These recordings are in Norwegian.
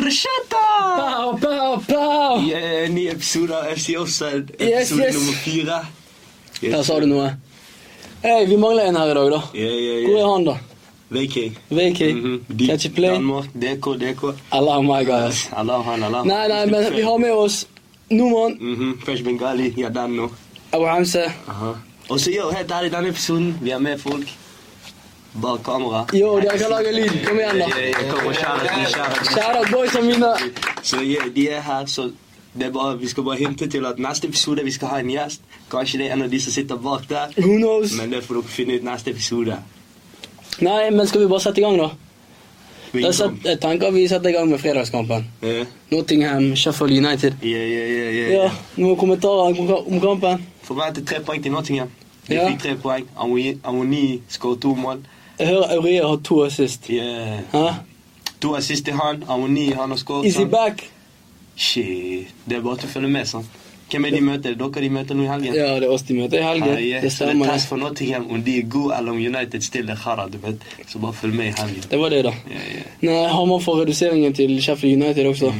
Bruschetta! Pow, pow, pow! I eh, ny episode av FC Offside, Yes, er episode yes. nummer fire. Yes. Der sa du noe. Hei, vi mangler en her i dag, da. Ja, ja, Hvor er ja. han, da? Viking. Vaki? Mhm. Can't you play? Danmark, DK, DK. Allah my guys. Allah, han, Allah. Nei, nei, men vi har med oss Noman, Mhm, Fresh Bengali, ja, den nå. Abu Hamse. Aha. Og så, jo, helt ærlig, denne episoden, vi har med folk bak kamera. Yo, dere kan lage lyd. Kom igjen, Ja, da. ja, ja, kom og kjære, de, kjære. de. Kjære boysa mine. Så ja, de er her, så det er bare, vi skal bare hinte til at neste episode vi skal ha en gjest. Kanskje det er en av de som sitter bak der. Who knows? Men det får dere finne ut neste episode. Nei, men skal vi bare sette i gang, da? Da set, Velkommen. jeg tenker vi setter i gang med fredagskampen. Ja, Nottingham, Sheffield United. ja, ja, ja, ja, Ja, ja. Noen kommentarer om ka- om kampen? Forventet tre poeng til Nottingham. De Ja. fikk tre poeng. Amoni- Amoni skåret to mål. Jeg hører Aurie har to assist. Ja. Hæ? To assist til han. Amoni han har skåret. Is he sant? back? Shit. Det er bare til å følge med, sant. Hvem er de møter? Dere de møter nå i helgen? Ja, det er oss de møter i helgen. Ah, yeah. Det Så det stemmer. er det. test for Nottingham om de er gode, eller om United stiller Harad. du vet. Så bare følg med i helgen. Det var det, da. Ja, ja. Nei, Hamar får reduseringen til Sheffield United også.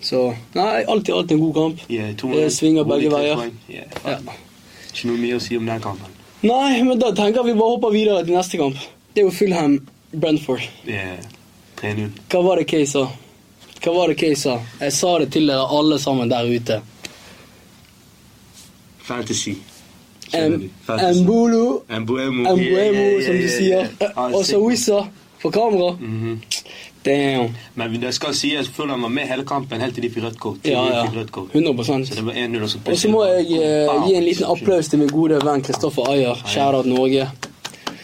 Så Nei, alt i alt en god kamp. Ja, to- Det svinger begge tre veier. poeng. Ja, Ja. faen. Ikke noe mye å si om den kampen. Nei, men da tenker jeg vi bare hopper videre til neste kamp. Det er jo Fulham Brentford. Ja, 3-0. Hva var det Kay sa? Hva var det Kay sa? Jeg sa det til dere alle sammen der ute. Fantasy. Skjønner Em- du? Fantasy. Embolo, Embuemo. Ja, Embuemo, ja, ja, som du ja, sier. ja. Eh, Og så Wizza på kamera. Ah, Mhm. Damn. Men det skal sies Fulham var med hele kampen helt til de fikk rødt kort. Til Ja, de ja. fikk rødt kort. 100 Så det var 1-0, og så Og så må jeg eh, gi en liten applaus til min gode venn Kristoffer Ayer. Kjære at Norge.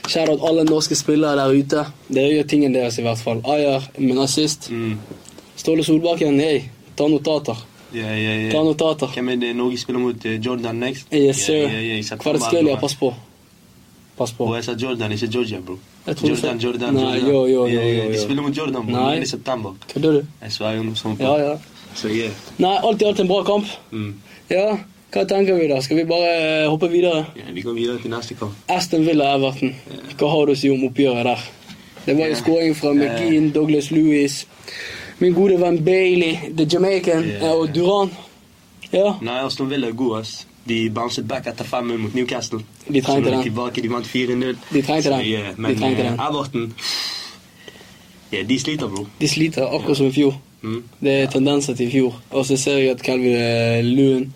Kjære at alle norske spillere der ute. Dere gjør tingen deres, i hvert fall. Ayer med nazist. Mm. Ståle Solbakken, hei, ta notater. Ja, ja, ja. Ta notater. Hvem er det Norge spiller mot? eh, Jordan next? Yes, Ja, sir. ja, ja, i september, Kvaratskhelia, bro. pass på. Pass på. Og jeg sa Jordan, ikke Georgia, bro. Jeg tror du Jordan, sa- Jordan, Nei, Jordan. Eh, jo, jo, Ja, ja, jo, jo, De jo. spiller mot Jordan, bro. Nei. Men i september. Kødder du? Jeg sverger noe sånt. Ja, ja. Så yeah. Nei, alt i alt en bra kamp. Mm. Ja, hva tenker vi da? Skal vi bare eh, hoppe videre? ja. Vi går videre til neste kamp. Aston Villa Everton. Hva har du å si om oppgjøret der? Det var jo Ja. skåring fra McGinn, Douglas Lewis, min gode venn Bailey, The Jamaican Ja. eh, og Duran. Ja, Nei, Aston Villa er gode, ass. De bounced back etter 5-0 mot Newcastle. De trengte Så nå er den. Tilbake, de vant 4-0. De trengte Så, den. yeah, De Men trengte eh, den. Everton Ja, de sliter, bro. de sliter akkurat som i fjor. Mm. Det er tendenser til i fjor. Og så ser jeg at Calvin eh, Lewin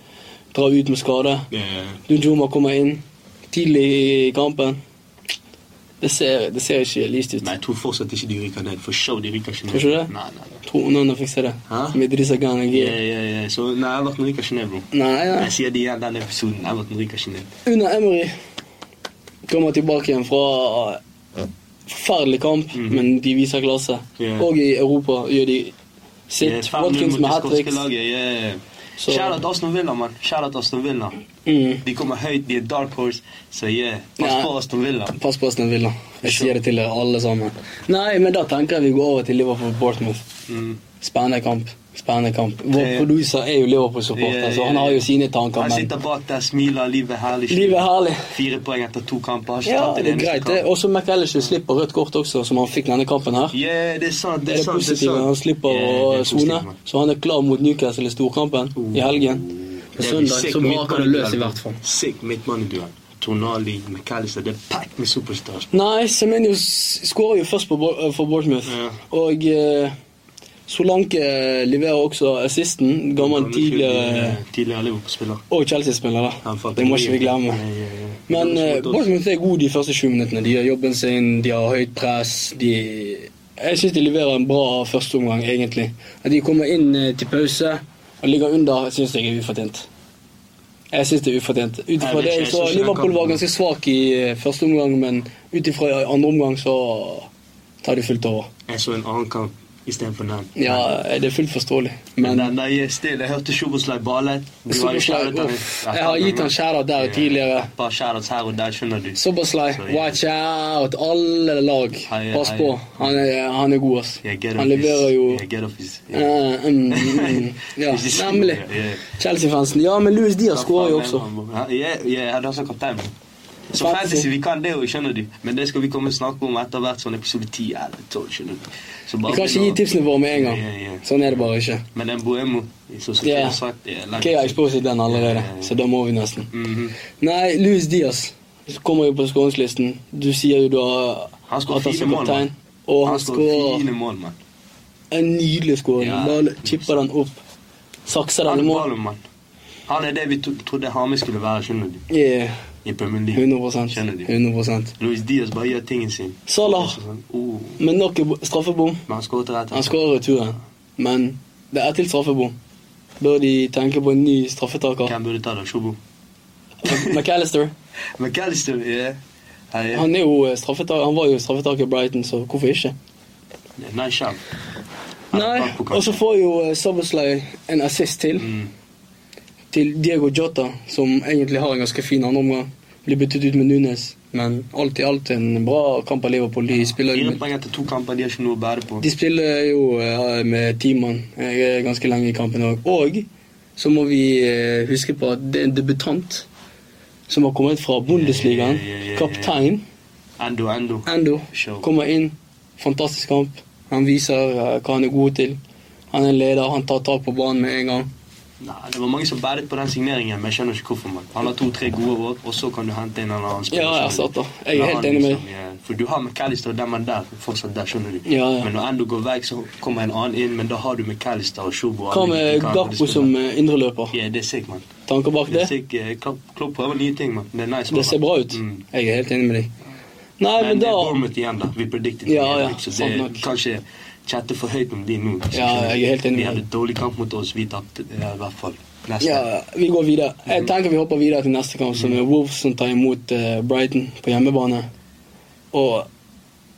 drar ut med skade. Yeah. Dunjuma kommer inn tidlig i kampen. Det ser, det ser ikke lyst ut. Men jeg tror fortsatt ikke de ryker ned. For show, de ryker ikke ned. Tror ikke det? Nei, nei, nei. Tror noen fikser det. Hæ? Med Idrissa Gane G. Yeah, Ah. yeah, yeah. Så nei, Everton ryker ikke ned, bro. Eh, Nei, nei. Jeg sier det igjen denne episoden. Everton ryker ikke ned. Una Emery kommer tilbake igjen fra forferdelig kamp, men de viser klasse. Mhm. Ja. Og i Europa gjør de sitt. Yeah, 5-0 Watkins mot med det hat skotske tricks. laget. Yeah. Så- Kjære Aston Villa, mann. Kjære Aston Villa. Mm. De kommer høyt, de er dark horse. Så yeah, pass Ja. på Aston Villa. Pass på Aston Villa. Jeg sier det til dere alle sammen. Nei, men da tenker jeg vi går over til Liverpool-Portsmouth. Mm. Spennende kamp. Spennende kamp. Vår Det- producer er jo Liverpool-supporter, Ja, ja, så han har jo ja. sine tanker, Han men sitter bak der, smiler, livet er herlig. livet er herlig. Fire poeng etter to kamper. Har ikke Ja, tatt en det er eneste greit, det. kamp. Også McAllister slipper rødt kort også, som han fikk denne kampen her. Yeah, det er sant, det er er sånn. det sant. det er positive. sant. Han slipper Yeah, det å er positivt, sone, mann. så han er klar mot Newcastle i storkampen i helgen. På Det er Oh. søndag sick så braker det løs midtbaneduell. i hvert fall. Sick midtbaneduell. Tonali, McAllister, det er packed med superstars. Nei, Semenyo skårer jo først på, Bo- eh, for Bournemouth. Ja. Og eh, Solanke eh, leverer også assisten. Gammel Gammel tidligere tidligere- eh, Tidligere Liverpool-spiller. Og Chelsea-spiller, Han da. fant Det må en ikke vi ny- glemme. Ja, ja, ja. Men Det var eh, så godt. Bournemouth er gode de første 20 minuttene. De gjør jobben sin, de har høyt press. de... Jeg syns de leverer en bra førsteomgang, egentlig. At de kommer inn eh, til pause og ligger under, syns jeg er ufortjent. Jeg syns det er ufortjent. Ut Jeg ifra vet ikke, det jeg jeg så synes ikke Liverpool den var kampen- ganske svak i eh, første omgang, men ut ifra andre omgang så tar de fullt over. Jeg så en annen kamp istedenfor den. Ja, eh, det er fullt forståelig, Men men den der yes, det, jeg hørte Sjoboslaj Bale. Du har jo Szoboszlai, shoutet han uff. et- Jeg har gitt han shoutout der Ja, tidligere. Et par shoutouts her og der, skjønner du. Soberslay, Så, ja. watch out, alle lag. Hei, Pass hei. på. Han er, han er god, ass. Jeg get Han off his- leverer jo jeg get off his- ja. Eh, mm, mm. Ja, Hvis de- nemlig. ja, ja. Chelsea-fansen. Ja, men Louis Diaz Ta skårer jo faen også. med han, bro. Ja, ja, ja, jeg hadde også altså kaptein. bro. Så Fantasy. fantasy, vi kan det jo, skjønner du. Men det skal vi komme og snakke om etter hvert sånn episode 10 eller 12, skjønner du. Så Vi kan ikke gi tipsene våre med en gang. Ja, ja. Sånn er det bare ikke. Men den boemo, som som Ja. jeg har sagt, det er langt. Kea har exposed den allerede, Ja, ja, ja. så da må vi nesten. Mhm. Nei, Louis Diaz kommer jo på skåringslisten. Du sier jo du har Han skår at fine som mål, kaptein, mann. Og Han han skårer skårer fine mål, mann. en nydelig skåring. Ja. Bare chipper den opp. Sakser Han den i er mål. ballen, mann. Han er det vi to- trodde Hamid skulle være, skjønner du. Yeah, I Premier League. 100 Skjønner du. 100 Luis Diaz bare gjør tingen sin. Salah Sånn, oh, med nok en bo- straffebom. men han skåret rett altså. Han skårer returen, men det er til straffebom. Da de tenker på en ny straffetaker. Hvem burde ta det? Sjobo? McAllister. McAllister, ja. Han er- Han, er jo eh, straffetaker. han var jo straffetaker i Brighton, så hvorfor ikke? Nei, Sham. Nei, og så får jo eh, Szoboszlai en assist til. mm. til Diego Jota, som egentlig har en ganske fin andreomgang. Blir byttet ut med Nunes, men alt i alt en bra kamp av Liverpool. De spiller jo Fire med, poeng etter to kamper, de har ikke noe å bære på. de spiller jo eh, med ti mann eh, ganske lenge i kampen òg. Og så må vi eh, huske på at det er en debutant som har kommet fra Bundesligaen. Ja, ja, ja, ja, ja. Kaptein Endo, endo. Endo Show. kommer inn. Fantastisk kamp. Han viser eh, hva han er god til. Han er en leder, han tar tak på banen med en gang. Nei, det var mange som bæret på den signeringen, men jeg skjønner ikke hvorfor. man. Han har to-tre gode år, og så kan du hente en eller annen spiller. Ja, jeg skjønner du. satt da. Jeg er Men helt han enig med liksom, ja, For du har McAllister og dem er der, fortsatt der, skjønner du. Ja, ja. Men når Endo går vekk, så kommer en annen inn, men da har du McAllister og Sjobo. og Hva alle de med kan- Gakpo som eh, indreløper? Ja, det er sick, mann. Tanker bak Det er det? sick. eh, Klopp, Klopp prøver nye ting, mann. Det er nice. Det ser mann. bra ut. Mm. Jeg er helt enig med deg. Nei, Men men det da er Bournemouth igjen, da. Vi predicted Ja, det, ja, liksom. så sant det nok. er kanskje chatte for høyt om de nå. liksom, Ja, skjønner du. jeg er helt enig De med hadde deg. dårlig kamp mot oss, vi tapte ja, i hvert fall. Nesten. ja, vi går videre. Jeg tenker vi hopper videre til neste kamp, som er Wolves som tar imot eh, Brighton på hjemmebane. Og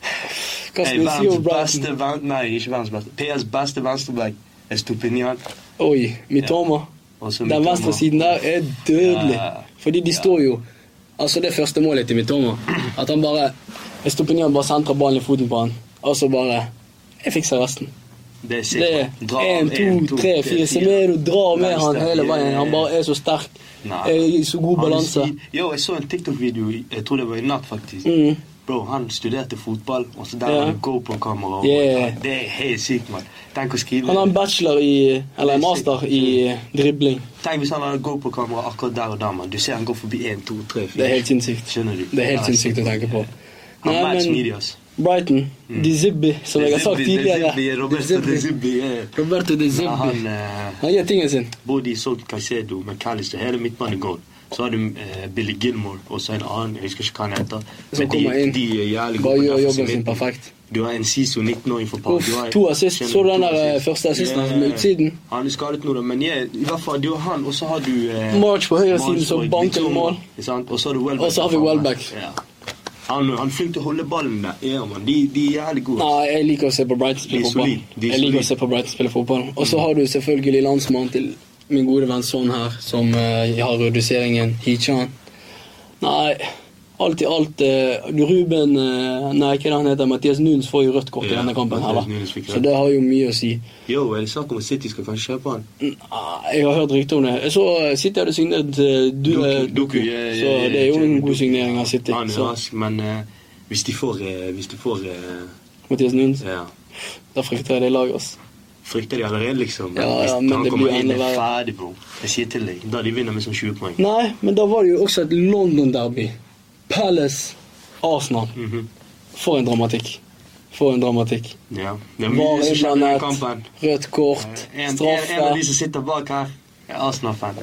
Hva Hey, skal vi si verdens om Brighton? beste ven- Nei, ikke verdens beste. PS beste venstreback er Stupinian. Oi, Mitoma. og så Den Mitoma. venstre siden der er dødelig. Ja. Fordi de står jo Altså, det første målet til Mitoma At han bare Estopinian bare sentrer ballen i foten på han, og så bare Jeg fikser resten. Det er sikkert. Det er én, to, tre, fire. Semedo drar med han hele veien. Han bare er så sterk. Nei. Er i så god Han er balanse. si- Yo, jeg så en TikTok-video, i- jeg tror det var i natt, faktisk. Mm. Bro, han studerte fotball, og så der Ja. var det GoPro-kamera. og- Yeah. Det er helt sykt, mann. Tenk å skrive Han har en bachelor i Eller en master i dribling. Tenk hvis han hadde GoPro-kamera akkurat der og da, mann. Du ser han går forbi én, to, tre, fire. Det er helt sinnssykt. Skjønner du? Det er helt Ja, sinnssykt å tenke på. Han Nei, match men- media, ass. Brighton, De Zibbi, som jeg har sagt Det er Zibbi, det er tidligere. Zibbi, De Roberto Zibbi. De Zibbi, yeah. Roberto De Ja, han Zibbi. eh, Han gjør tingen sin. bodde i Salt Caicedo med Callister, hele midtbanegården. Så har du eh, Billy Gilmore og så en annen, jeg husker ikke hva han heter. Som kommer inn. de er jævlig Bare på gjør defensiv jobben sin midten. perfekt. Du har en Siso 19-åring for Park. Uff, Du har- to assist. Skjønner Så du den to der, eh, assist. første assisten Ja, hans med utsiden? Han er skadet nå, da, men ja, i hvert fall du har han, og så har du eh, March på høyre siden March som og banker Mitoma, mål. ikke sant? Og så har du Welbeck. Og så har vi Welbeck. Ja. Han, han er flink til å holde ballen der. Ja, man. De, de er jævlig gode. Nei, jeg liker å se på Brighton De spille er fotball. solid. De er Jeg liker å solid. se på Brighton spille fotball. Og så har du selvfølgelig landsmannen til min gode venn Son her, som eh, har reduseringen. Hichan. Nei, alt i alt eh, du, Ruben eh, Nei, ikke det han heter. Mathias Nunes får jo rødt kort i Ja, denne kampen her, Mathias Nunes da. fikk Så rødt. det har jo mye å si. Yo, er det snakk om at City skal kanskje kjøpe han? Nei, Jeg har hørt rykter om det. Jeg så eh, City hadde signert eh, du, eh, Doku, Doku, ja, ja, så ja, det er jo en Doku. god signering av City. Han er Så rask, men eh, hvis de får, eh, hvis de får eh, Mathias Nunes. ja, Da frykter jeg det laget, ass. Frykter de allerede, liksom. Ja, hvis ja, men han det kommer blir inn, enda det er verre. ferdig, bro. Jeg sier til deg. Da de vinner med sånn 20 poeng. Nei, men da var det jo også et London-derby. Palace, Arsenal. Mhm. For en dramatikk. For en dramatikk. Ja. Det er mye Var som skjer i den kampen. innblandet, rødt kort, Eh, En, en, en av de straffe. som sitter bak her, er Arsenal-fan.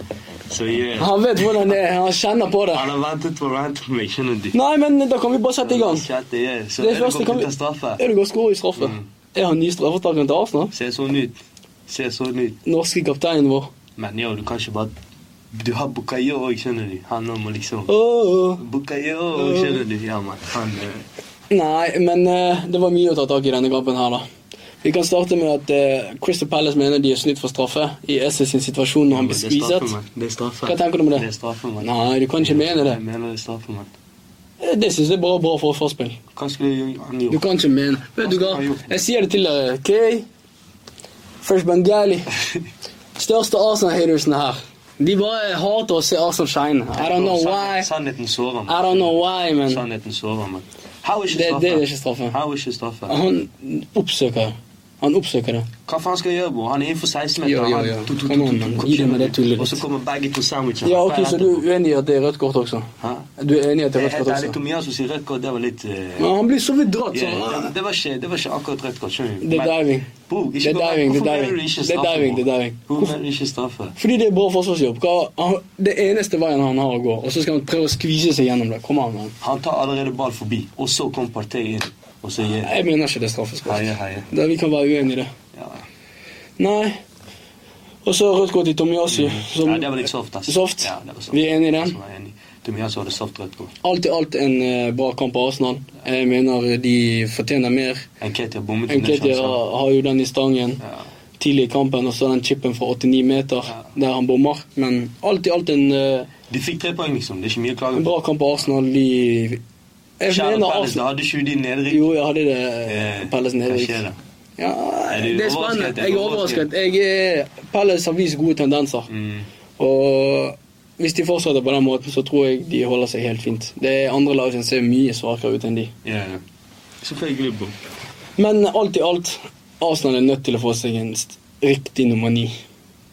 Så yeah. Han vet hvordan det er, han kjenner på det. han har ventet på å rante på meg, skjønner du. Nei, men da kan vi bare sette i gang. Sjette, yeah. Så Det er det første kan kommet vi- til straffe. Ødegaard skårer i straffe. Mm. Er han ny straffetakeren til Arsenal? Ser sånn ut. Ser sånn ut. Norske kapteinen vår. Men yo, du kan ikke bare Du har Bukayo òg, skjønner du. Han nå må liksom Åh. Bukayo, skjønner du. Ja, mann. Han eh, Nei, men eh, det var mye å ta tak i denne kampen her, da. Vi kan starte med at eh, Crystal Palace mener de er snytt for straffe i Esse sin situasjon når han Det blir er straffe, skviset. mann. Det er straffe. Hva tenker du om det? Det er straffe, mann. Nei, du kan ikke mene det. Jeg mener det er straffe, mann. Eh, Det syns jeg er bare bra for forspill. Hva skulle jeg- han gjort? Du kan ikke mene Vet du hva, jeg sier det til eh, deg, OK? Fresh Bengali. Største Arsenal-hatersen her. De bare hater å se Arsenal shine. I don't know why. Sannheten sårer, I mann. don't know why, men Sannheten sårer, mann. How er ikke det, det straffe? er ikke straffe. How er ikke straffe? Han oppsøker Han oppsøker det. Hva faen skal jeg gjøre, bror? Han er innenfor 16 meter. Ja, ja, han- ja. tu, tu, tu, Kom an, tu, mann. tu, Gi dem med det tullet ditt. Og så kommer begge to sandwicher. Ja, ok, Så du er uenig i at det er rødt kort også? Hæ? Du er enig i at det er Jeg rødt heter kort ærlig også? Tomias som sier rødt kort, det var litt eh, Men han blir så vidt dratt, yeah, det, så det, var ikke, det var ikke akkurat rødt kort, skjønner du. Det er Men- diving. Bro, ikke Det er bare- diving, det er Hvorfor diving. mener du ikke Det er straffe, diving, det er bror? diving. Hvorfor mener du ikke straffe? Fordi det er bra forsvarsjobb. Hva- han- Det eneste veien han har å gå, og så skal han prøve å skvise seg gjennom det. Kom an, mann. Han tar allerede ball forbi, og så kom Partey inn, og så gir Jeg mener ikke det er straffespark. Heie, heie. Da Vi kan være uenige i det. Ja, Nei. Og så rødt kort i Tomiyasu. ja, Mm. det var litt sånn. soft, ass. Soft? Ja, det var soft. Vi er enige i den? Så var jeg enig. altså Tomias hadde soft rødt kort. Alt i alt en eh, bra kamp av Arsenal. Jeg mener de fortjener mer. Enketia bommet under Enketia sjanser. har jo den i stangen Ja. tidlig i kampen, og så den chipen fra 89 meter der han bommer. Men alt i alt en, eh, De fikk tre poeng, liksom. Det er ikke mye å klage en på. bra kamp av Arsenal. De Jeg Kjære mener Palace, Arsenal da hadde ikke de nedrykk. Jo, jeg hadde det. Eh, Palace hva nedrykk. skjer da? Ja, Er du det er overrasket? spennende. Er Jeg du er overrasket? overrasket. Jeg er, Palace har vist gode tendenser. Mm. Og hvis de fortsetter på den måten, så tror jeg de holder seg helt fint. Det er andre lag som ser mye svakere ut enn de. Ja, ja. Selvfølgelig, bro. Men alt i alt, Arsenal er nødt til å få seg en st- riktig nummer ni.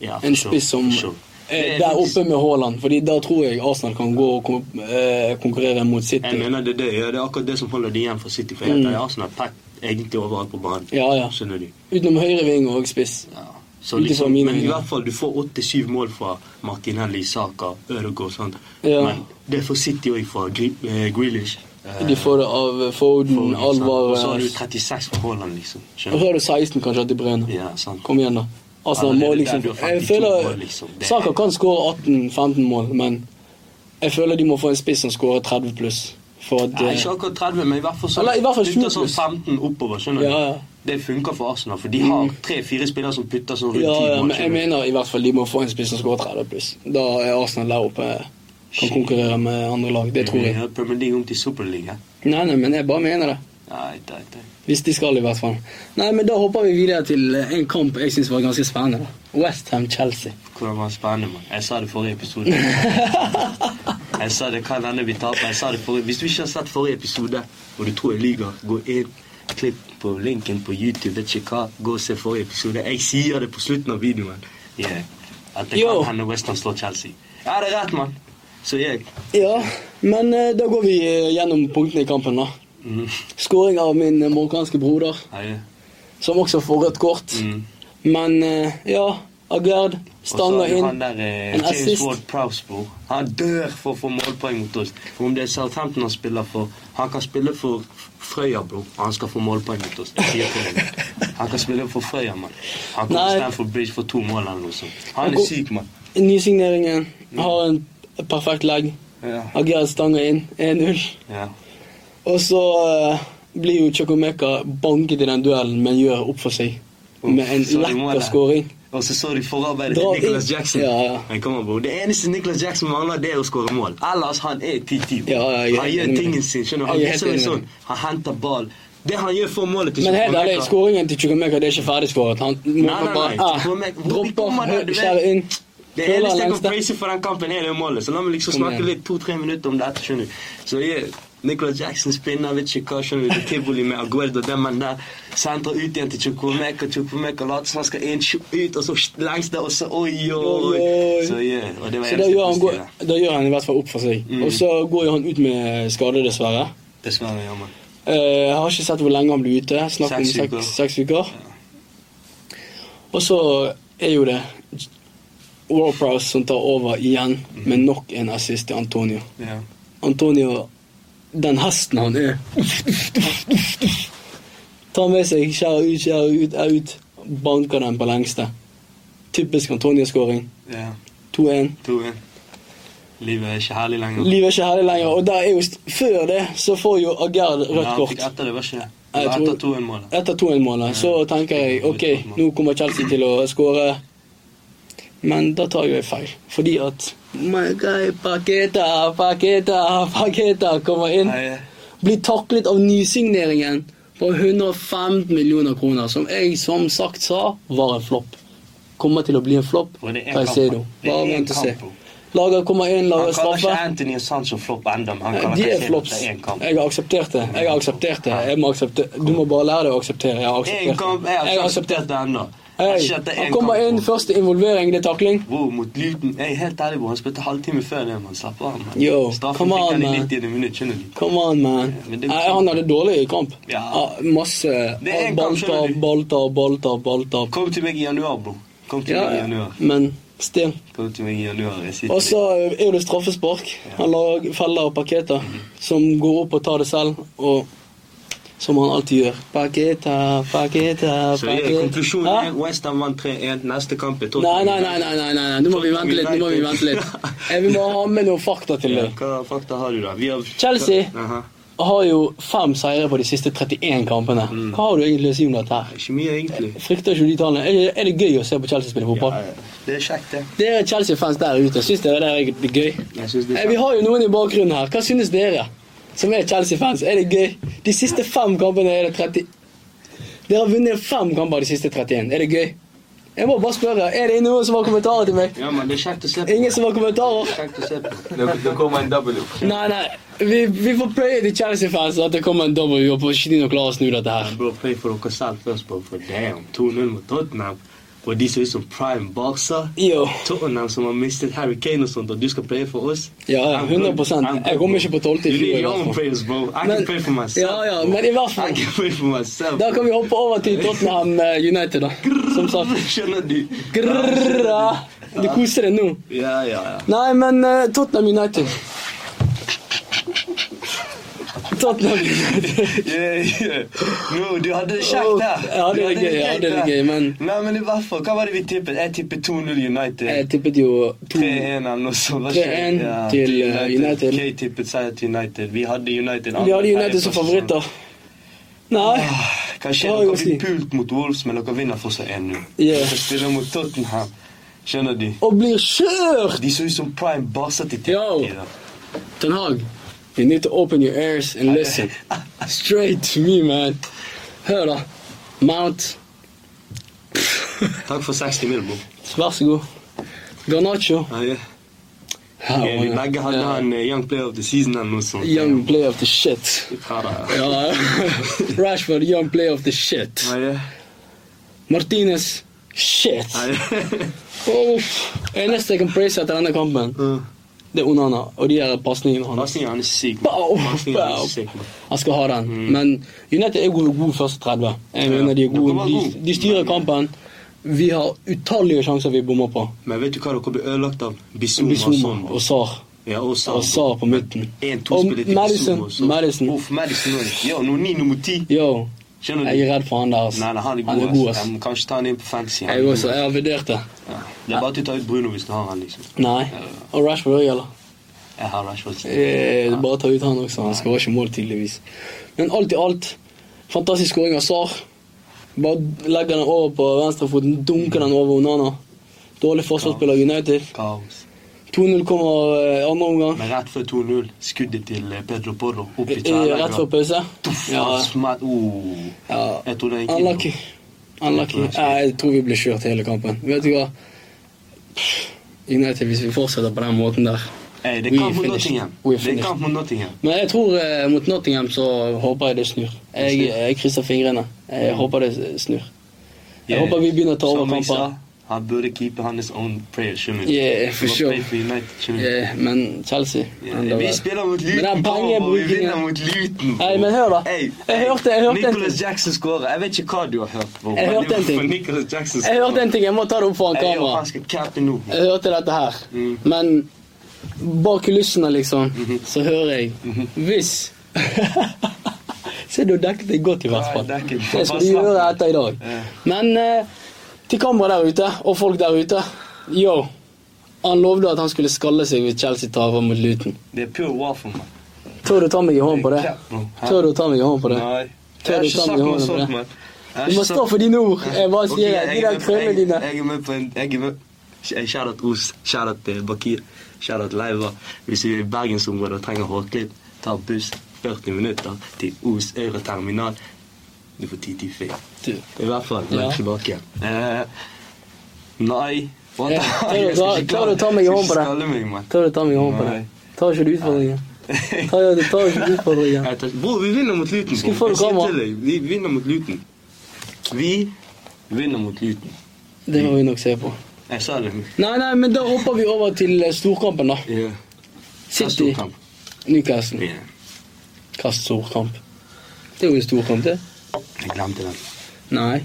Ja, for En sure, spiss som for sure. Det er er der faktisk- oppe med Haaland, Fordi da tror jeg Arsenal kan gå og kom, eh, konkurrere mot Jeg City. mener det er det. Ja, det er akkurat det som holder de igjen for City. For jeg er Arsenal pakket egentlig overalt på banen. Mm. Ja, ja. Skjønner du? Utenom høyreving og spiss. Ja. Så Utenfor liksom, mine men i øyne. hvert fall, du får 87 mål fra Martinelli, Saka, Ødegaard og sånn. Ja. Men det får City òg fra Gri- eh, Grealish. Eh, De får det av Foden, Foden, sant? Og så har du Alvarez 36 fra Haaland, liksom. Og Skjønner du? så har du 16 kanskje til Brønn. Ja, sant. Kom igjen, da. Arsenal må Allerede liksom der du har Jeg 52 føler mål, liksom. Det er- Saka kan skåre 18-15 mål, men jeg føler de må få en spiss som skårer 30 pluss. For at Nei, eh, ikke akkurat 30, men i hvert fall sånn, Eller i hvert fall 20 putter sånn pluss. 15 oppover. skjønner du? Ja, ja. Mm. Det funker for Arsenal, for de har tre-fire spillere som putter sånn rundt ja, 10 ja, mål. men jeg skjønner du? mener i hvert fall de må få en spiss som skårer 30 pluss. Da er Arsenal der oppe eh, kan Shit. konkurrere med andre lag. Det tror jeg. Ja, Premier League om til Superliga. Nei, nei, men jeg bare mener det. Nei, nei, nei. Hvis de skal, i hvert fall. Nei, men Da hopper vi videre til eh, en kamp jeg syns var ganske spennende. Westham-Chelsea. Hvordan var det spennende, mann? Jeg sa det forrige episode. jeg sa det kan hende vi taper. Jeg sa det forrige. Hvis du ikke har sett forrige episode, og du tror jeg lyver, gå inn, klipp på linken på YouTube, vet ikke hva, gå og se forrige episode. Jeg sier det på slutten av videoen. Yeah. At det Yo. kan hende Western slår Chelsea. Ja, det er rett, mann. Så jeg. Ja, men eh, da går vi eh, gjennom punktene i kampen, da. Mm. Skåring av min eh, marokkanske broder, Ja, ja. som også får rødt kort. Mm. Men eh, ja, Agerd Og så har stanger du inn. han der eh, En James assist. Ward Prowse, bror. Han dør for å få målpoeng mot oss. For om det er Southampton han spiller for Han kan spille for Frøya, bror. og Han skal få målpoeng mot oss. Jeg sier til deg. Han kan spille for Frøya, mann. Han kommer Nei. til Stamford Bridge for to mål eller noe sånt. Han Han kom- er syk, mann. Nysigneringen Mm. har en perfekt legg. Ja. Agerd stanger inn 1-0. Ja. Og så eh, blir jo Chokomeka banket i den duellen, men gjør opp for seg. Uff, Med en så de må lekker det. skåring. Og så så de forarbeidet Dra til Nicholas inn. Jackson. Ja, ja. Men kom an, bror. Det eneste Nicholas Jackson mangler, det er å skåre mål. Ellers han er 10-10. bror. Ja, ja, jeg er han enig gjør med deg. tingen sin. skjønner du? Han Jeg er helt viser meg enig sånn. med Han henter ball. Det han gjør for målet til Men helt Chukwuemeka- ærlig, skåringen til Chokomeka er ikke ferdigskåret. Han må Nei, nei, bare nei. ah, Chukwuemeka- hvor- vi dropper, kommer der, du vet. skjærer inn. Det Føler eneste jeg kan lengste. praise for den kampen, er det målet. Så la meg liksom Kom snakke igjen. litt to-tre minutter om dette. skjønner du. Så jeg, Nicholas Jackson spinner, vet ikke hva, skjønner du. Det er tivoli med Aguero og den mannen der. Sentrer ut igjen til Chukwumeka, Chukwumeka later som han skal inn, tju- ut, og så sh- lengst der, og så oi, oi. Oi, oi. Så yeah, og det Mm. var Så da gjør, han, positive. gå- da gjør han i hvert fall opp for seg. Og så går jo han ut med skade, dessverre. Dessverre, ja, mann. Eh, Jeg har ikke sett hvor lenge han ble ute. Snakk om Seks seks uker. uker. Seks uker. Og så er jo det Warprouse som tar over igjen Mhm. med nok en assist til Antonio. Ja. Antonio, den hesten han er Tar med seg, skjærer ut, skjærer ut, er ut. Banker den på lengste. Typisk Antonio-skåring. ja. 2-1. To, en. Livet er ikke herlig lenger. Livet er ikke herlig lenger. Og der er jo st før det så får jo Agerd Ja, rødt han fikk kort. Etter det var ikke det. Jeg Det var tror- Etter to en målet. Etter 2-1-målet så tenker jeg ok, nå kommer Chelsea til å skåre. Men da tar jo jeg feil, fordi at My guy Paketa, Paketa, Paketa kommer inn. Nei, eh, Blir taklet av nysigneringen på 115 millioner kroner, som jeg som sagt sa var en flopp. kommer til å bli en flopp. Og det er en Caicedo. kamp. Det er Bare en vent og se. kamp, bro. Lager kommer inn, Han lager kaller ikke straffe. Anthony og Sancho flopp ennå, men han Nei, kaller Eh, De er Caicedo flops. til én kamp. Jeg har akseptert det. Jeg har akseptert det. Jeg må aksepte- Du må bare lære deg å akseptere. Jeg har Én akseptert kamp, det. jeg har Jeg ikke har akseptert akseptert det ennå. Hei, Han kommer inn, første involvering, det er takling. Wow, mot Luton. Jeg er helt ærlig, bro. Han spilte halvtime før det, man. Slapp av, man. Yo, Straffen come fikk on, han i man. 90. minutt, skjønner du. Come on, man. men det- Nei, han hadde dårlig kamp. Ja. Masse eh, Det er en kamp, skjønner du. balltap, balltap, balltap, balltap. Kom til meg i januar, bro. Kom til Ja, meg i ja, januar. men still. Kom til meg i januar. Jeg sitter Og så eh, er det straffespark. Han lager feller og paketer som går opp og tar det selv, og som han alltid gjør. Paketa, paketa, Så ja, konklusjonen Hæ? er Westham vant 3-1. Neste kamp er Nei, Tottenham. nei, nei, nei, nei, nei, nei. nå må vi vente litt. nå må Vi vente litt. Eh, Vi må ha med noen fakta til Ja, det. hva fakta har du, da? Vi har Chelsea. Aha. Har jo fem seire på de siste 31 kampene. Hva har du egentlig å si om dette? her? Ikke mye, egentlig. Frykter ikke du de tallene? Er det, er det gøy å se på Chelsea spille fotball? Ja, ja. det er kjekt, det. Dere Chelsea-fans der ute, syns dere det er egentlig gøy? Jeg synes det Eh, er Vi kjekt. har jo noen i bakgrunnen her. Hva synes dere som er Chelsea-fans? Er det gøy? De siste fem kampene er det 30 Dere har vunnet fem kamper de siste 31. Er det gøy? Jeg må bare spørre. Er det noen som har kommentarer til meg? Ja, men det er kjekt å se på. Ingen som har kommentarer? Kjekt å se på. Det, det kommer en W. Nei, nei. Vi, vi får pløye til Chelsea-fans at det kommer en W og på ikke de nå klarer å snu dette her. Bro, play for dere selv først, bro. For damn, 2-0 mot Tottenham. Og de ser ut som prime boxer. Jo. Tottenham som har mistet Harry Kane og sånt, og du skal play for oss? Ja, ja, 100 Jeg kom ikke på 12. i You need fjor. i your hvert own fall. prayers, bro. I Men- can pray for myself. Ja, ja, bro. men i hvert fall- I can pray for myself. Da kan vi hoppe over til Tottenham eh, United, da. Som sagt. Skjønner du? Grrra. Du koser deg nå. Ja, ja, ja. Nei, men eh, Tottenham United Tottenham United. Yeah, yeah. No, du hadde det kjekt der. Jeg hadde Du Oh, det gøy, jeg hadde det der. gøy, men- Nei, men i hvert fall, hva var det vi tippet? Jeg tippet 2-0 Jeg United. tippet jo to 3-1 eller noe sånt. Hva skjer? 3-1 til, eh, United. Kay tippet seier til United. Vi hadde United andre- Vi hadde United som tredjeplass og sånt. favoritter. Nei. Hva Det skjer? var jo Dere blir slik. pult mot Wolves, men dere vinner fortsatt 1-0. Ja. Dere spiller mot Tottenham. Skjønner de? Og blir kjørt! De ser ut som prime barser til Yo. Tottenham. Ten Hag, you need to open your ears and listen. Straight to me, man. Hør, da. Mount, Takk for 60 mil, bro. vær så god. Garnaccio. Ja, ja. Ja, Ja, vi begge hadde ja. han eh, Young Player of the Season eller noe sånt. Young play of the shit. Ja, da. Ja, Rashford, young play of the shit. Ja, ja. Martinez, shit. Ja, ja. Uff. Eneste jeg kan praise etter denne kampen, Mm. det er Onana og de der pasningene hans. Pasningen hans er syk. man. Bow, Pasningen hans bow. er syk, man. Han skal ha den. Mm. Men United er gode, gode første 30. Jeg mener de er Dere var gode. gode. De, de styrer kampen. Vi har utallige sjanser vi bommer på. Men vet du hva dere blir ødelagt av? Bizuma og Bissouma sånn. bro. og Sar. Ja, og Sar. Og Sar på midten. En, to Og spiller til Madison. Bizuma og Sar. Madison. Uff, Madison også. Ja, nummer ni, nummer ti. Yo, Skjønner jeg du? er redd for han der. ass. Nei, nei, han er god. ass. Jeg må kanskje ta han inn på fantasy. han er Jeg god, også. Jeg har vurdert det. ass. Ja. Det er bare til å ta ut Bruno hvis du har han, liksom. Nei. Og Rashford òg, eller? Jeg har Rashford. Eh, Bare ta ut han også. Han skårer ikke mål, tydeligvis. Men alt i alt, fantastisk skåring av Sar. Bare legger den over på venstrefoten, dunker den over Onana. Dårlig forsvarsspiller av United. Kaos. 2-0 kommer eh, andre omgang. Men rett før 2-0, skuddet til eh, Pedro Porro opp i Eh, eh, Rett før tverrleggeren. pause. Ja, Ja. Smatt, oh. Ja. Jeg tror det gikk inn. unlucky. Unlucky. Nei, Jeg tror vi blir kjørt hele kampen. Vet du hva? Pff, United, hvis vi fortsetter på den måten der Hey, det We er kamp mot finished. Nottingham. We Det er finished. kamp mot Nottingham. Men jeg tror eh, mot Nottingham så håper jeg det snur. Jeg, jeg krysser fingrene. Jeg Mm. håper det snur. Jeg håper vi begynner å ta over Som jeg kamper. sa, Han burde keepe hans own prayer, skjønner du. Yeah, for Han sure. play for United, skjønner du. Eh, men Chelsea Yeah, enda Mm. Vi verre. spiller mot Men den Luton, bro, og vi pengebrukingen- vinner mot Luton. bro. Nei, men hør da. Hey, Jeg hey, hørte- jeg hørte en Nicholas ting. Jackson skårer. Jeg vet ikke hva du har hørt. Bro. Jeg men hørte en ting. for Nicholas Jackson Jeg hørte en ting. Jeg må ta det opp foran Hey, yo, kamera. Han skal cappe nå. bro. Jeg hørte dette her. Mm. Mm-hmm. Men bak kulissene, liksom, så hører jeg Hvis Se, du dekket deg godt, i hvert fall. Ja, jeg dekket. Det skal du gjøre etter i dag. Ja. Men eh, til kamera der ute, og folk der ute Yo. Han lovde at han skulle skalle seg hvis Chelsea tar over mot Luton. Det er pure waffle, man. Tør du ta meg i hånden på det? Capp, bro. Hæ? Tør du ta meg i hånden på det? Nei. Tør Jeg har du ikke ta sagt meg i noe hånden på sånt, det? man. Jeg har Du må ikke stå sagt- for dine ord. Jeg bare Ok, sier det. jeg De er der med på- krøllene jeg- dine. Jeg er med på en Jeg er med Jeg- Shoutout Os, shoutout eh, Bakir, shoutout Leiva. Hvis du er i bergensområdet og trenger hårklipp, ta buss 40 minutter til Os Øyre terminal. Du får tid til ferie. Du. I hvert fall. Ja. Vær tilbake igjen. Eh, Nei. What the Ja, fuck? klarer du å Jeg skal ta- ikke klarer du å ta klare- meg i jeg skal hånden på ikke det? skalle meg, mann. Tar du ta meg i hånden på det? Nei. Tar ikke du utfordringen? Tar du tar ikke du utfordringen? Jeg tar- Bror, vi vinner mot Luton. Skal bror. vi få det Jeg sier kamera? til deg, Vi vinner mot Luton. Vi vinner mot Luton. Det må vi nok se på. Jeg sa det. Nei, nei, men da hopper vi over til eh, storkampen, da. Ja. Det er City, stor kamp. Newcastle. Ja. Hva storkamp? Det er jo en storkamp, det. Jeg glemte den. Nei.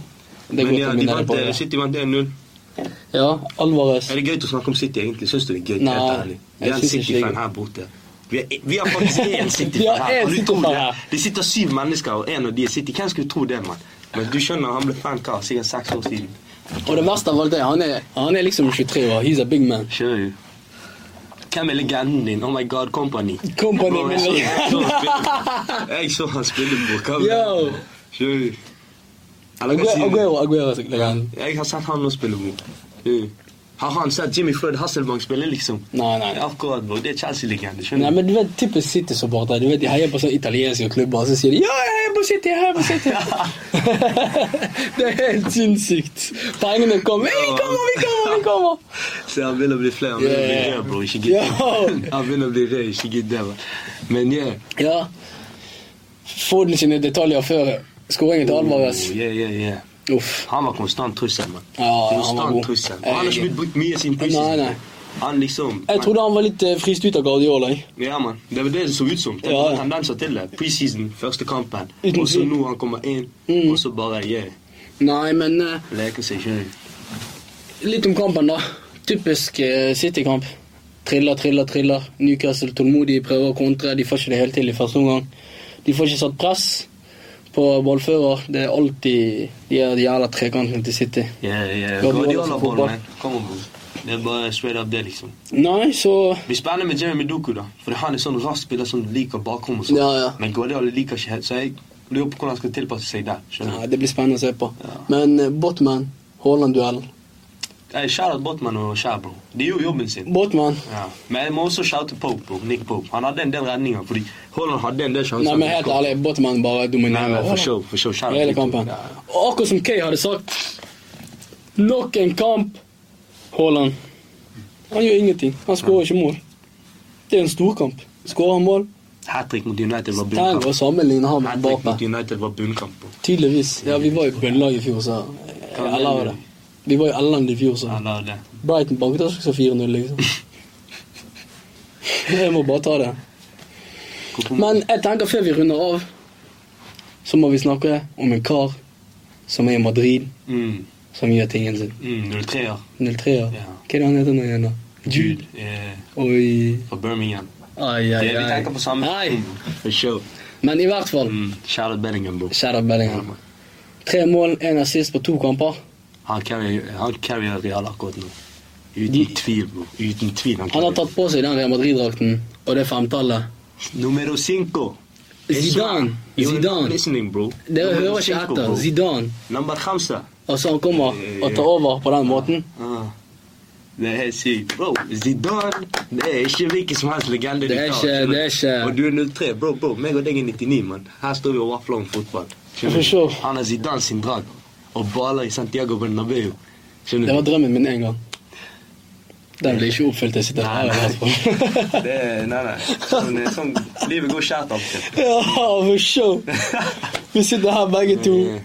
Det Men er godt ja, å de minne deg vant, på eh, det. City vant 1-0. Ja, Alvarez. Er det gøy å snakke om City, egentlig? Syns du det er gøy? Nei, helt ærlig? Vi jeg er en synes ikke det er City-fan gøy. her borte. Vi er, vi er faktisk én Vi City-fan har her. én Kan du tro City-fan det? her. Det sitter syv mennesker, og én av de er City. Hvem skulle tro det, mann? Men du skjønner, han ble fan hva, sikkert seks år siden. Og det verste av alt er han er, han er liksom 23 år. He's a big man. Kjør jo. Hvem er legenden din? Oh my god, Company. Company, Bro, jeg, så, min jeg, så, han spille- jeg så han spille på Yo. kamera. Kjør jo. Eller hva Aguero, sier du? Aguero, Aguero det er han. Jeg har sett han nå spille god. Har han sett Jimmy Fred Hasselbank spille, liksom? Nei, nei. Akkurat, bro. Det er Chelsea-legende. Nei, skjønner du? men du vet typisk City-supportere. Du vet, De heier på sånne italienske klubber, og så sier de 'Ja, jeg heier på City! Jeg heier på City!' det er helt sinnssykt. Pengene kommer. Vi kommer, vi kommer! vi kommer! Så han vil å bli flere. Han vil å bli Yeah. rød, bro. Ikke Yo. gidd. Han vil å bli rød, ikke gidd det. man. Men yeah. Ja. Foden sine detaljer før skåringen til Alvarez. Oh, yeah, yeah, yeah. Uff. Han var konstant trussel, mann. Ja, han var konstant god. trussel. Og Han har ikke blitt brukt mye siden Nei, nei. preseason. Han liksom Jeg trodde han var litt eh, fryst ut av Guardiola. jeg. Ja, mann. Det var det det så ut som. Det Ja, var ja. tendenser til det. Preseason, første kampen. Uten Og så tvil. Mm. nå han kommer inn, og så bare yeah, Nei, men eh, leker seg sjøl. Litt om kampen, da. Typisk eh, City-kamp. Triller, triller, triller. Newcastle tålmodig prøver å kontre. De får ikke det helt til i første omgang. De får ikke satt press på ballfører. Det er alltid de her jævla trekantene til City. Yeah, yeah. Guardiola Guardiola som ball, fotball. man. Kom on, bro. Det er bare straight up det, liksom. Nei, så Vi spiller med Jeremy Doku, da. For han er sånn rask spiller som liker bakrom og sånn. Ja, ja. Men Guardiola liker ikke helt, så jeg lurer på hvordan han skal tilpasse seg der. skjønner du? Nei, Det blir spennende å se på. Ja. Men eh, Botman, Haaland-duellen. Hey, Shout-out Botman og Skjær, bro. De gjorde jobben sin. Botman Ja. Men jeg må også shoute Pope, bro. Nick Pope. Han hadde en del redninger, fordi Haaland hadde en del sjanser. Nei, men helt ærlig, Botman bare Sånn. Nei, men dominerer. for show, for show. Shout-out hele Nick Pope. kampen. Ja, ja. Og akkurat som Kay hadde sagt Nok en kamp! Haaland. Han gjør ingenting. Han skårer ikke mål. Det er en storkamp. Skårer han mål, Hat trick mot United var trenger å bunnkamp. sammenligne Hat han med trick mot Mbappé. United var bunnkamp. bro. Tydeligvis. Ja, vi var i bønnelag i fjor, så Hva Jeg mener lover du? det. Vi var i Elland i fjor, så Han la det. Brighton banket oss også 4-0, liksom. Jeg må bare ta det. Hvorfor- Men jeg tenker før vi runder av, så må vi snakke om en kar som er i Madrid, mm, som gjør tingen sin. mm, 03-er. 03-er. Ja. Hva er det han heter nå igjen, da? Jude eh, Oi. fra Birmingham. Ai, ai, Det, vi tenker på samme Nei, Mm, For show. men i hvert fall. Mm, Shout-out Bellingham, bro. Shadow Bellingham. Tre mål, én assist på to kamper. Han carrier, han carrier Real akkurat nå. Uten tvil, bro. Uten tvil. Han har tatt på seg den Real Madrid-drakten og det femtallet. Numero cinco. Zidane. You're Zidane. not listening, bro. Dere Numero hører ikke cinco, etter. bro. Zidane. Nummer khamsa. Og så han kommer og tar over på den måten. Ah, Det er helt sykt. Bro, Zidane det er ikke hvilken som helst legende Det er du tar, ikke- skjønner du? det er ikke- Og du er 03. Bro, bro, meg og deg er 99, mann. Her står vi og vafler om fotball. Skjønner For du? sure. Han er Zidane sin drag. Og baler i Santiago Bernabeu. Skjønner Det var du? drømmen min en gang. Den ble ikke oppfylt. Jeg sitter her og hører på. Det er, nei, nei. Sånn, det er sånn, livet går skjært av og til. Ja, for show! Vi sitter her begge to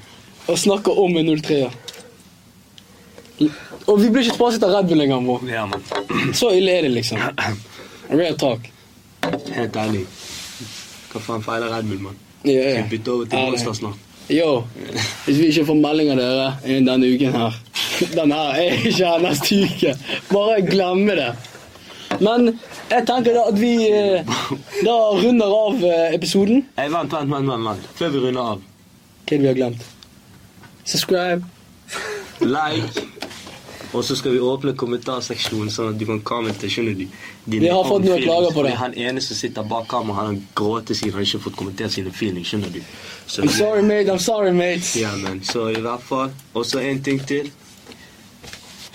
og snakker om en 03-er. Og vi blir ikke sponset av Red Bull engang, bro. Ja, mann. Så ille er det, liksom. Real talk. Helt ærlig. Hva faen feiler Red Bull, mann? Ja, ja. Skal vi bytte over til Ærlig. Monster snart? Yo, hvis vi ikke får melding av dere innen denne uken her Den her er ikke her neste uke. Bare glemme det. Men jeg tenker da at vi eh, da runder av eh, episoden. Hey, vent, vent, vent, vent, vent. Før vi runder av. Hva er det vi har glemt? Subscribe. like. Og så skal vi åpne kommentarseksjonen, sånn at du kan kommentere. skjønner du? Dine Vi har fått own noen feelings. klager på det. Fordi Han ene som sitter bak kamera, han gråter siden han ikke har fått kommentert sine feelings. skjønner du? Så, I'm sorry, mate. I'm sorry, mate. Ja, men, så i hvert fall. Og så en ting til.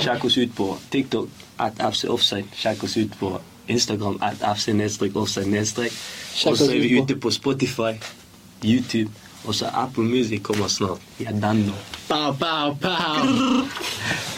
Sjekk oss ut på TikTok at FC Offside. Sjekk oss ut på Instagram at FC nedstrek offside nedstrek. Sjekk Og så oss er vi ut på- ute på Spotify, YouTube, og så Apple Music kommer snart. Ja, den nå. Pow, pow, pow.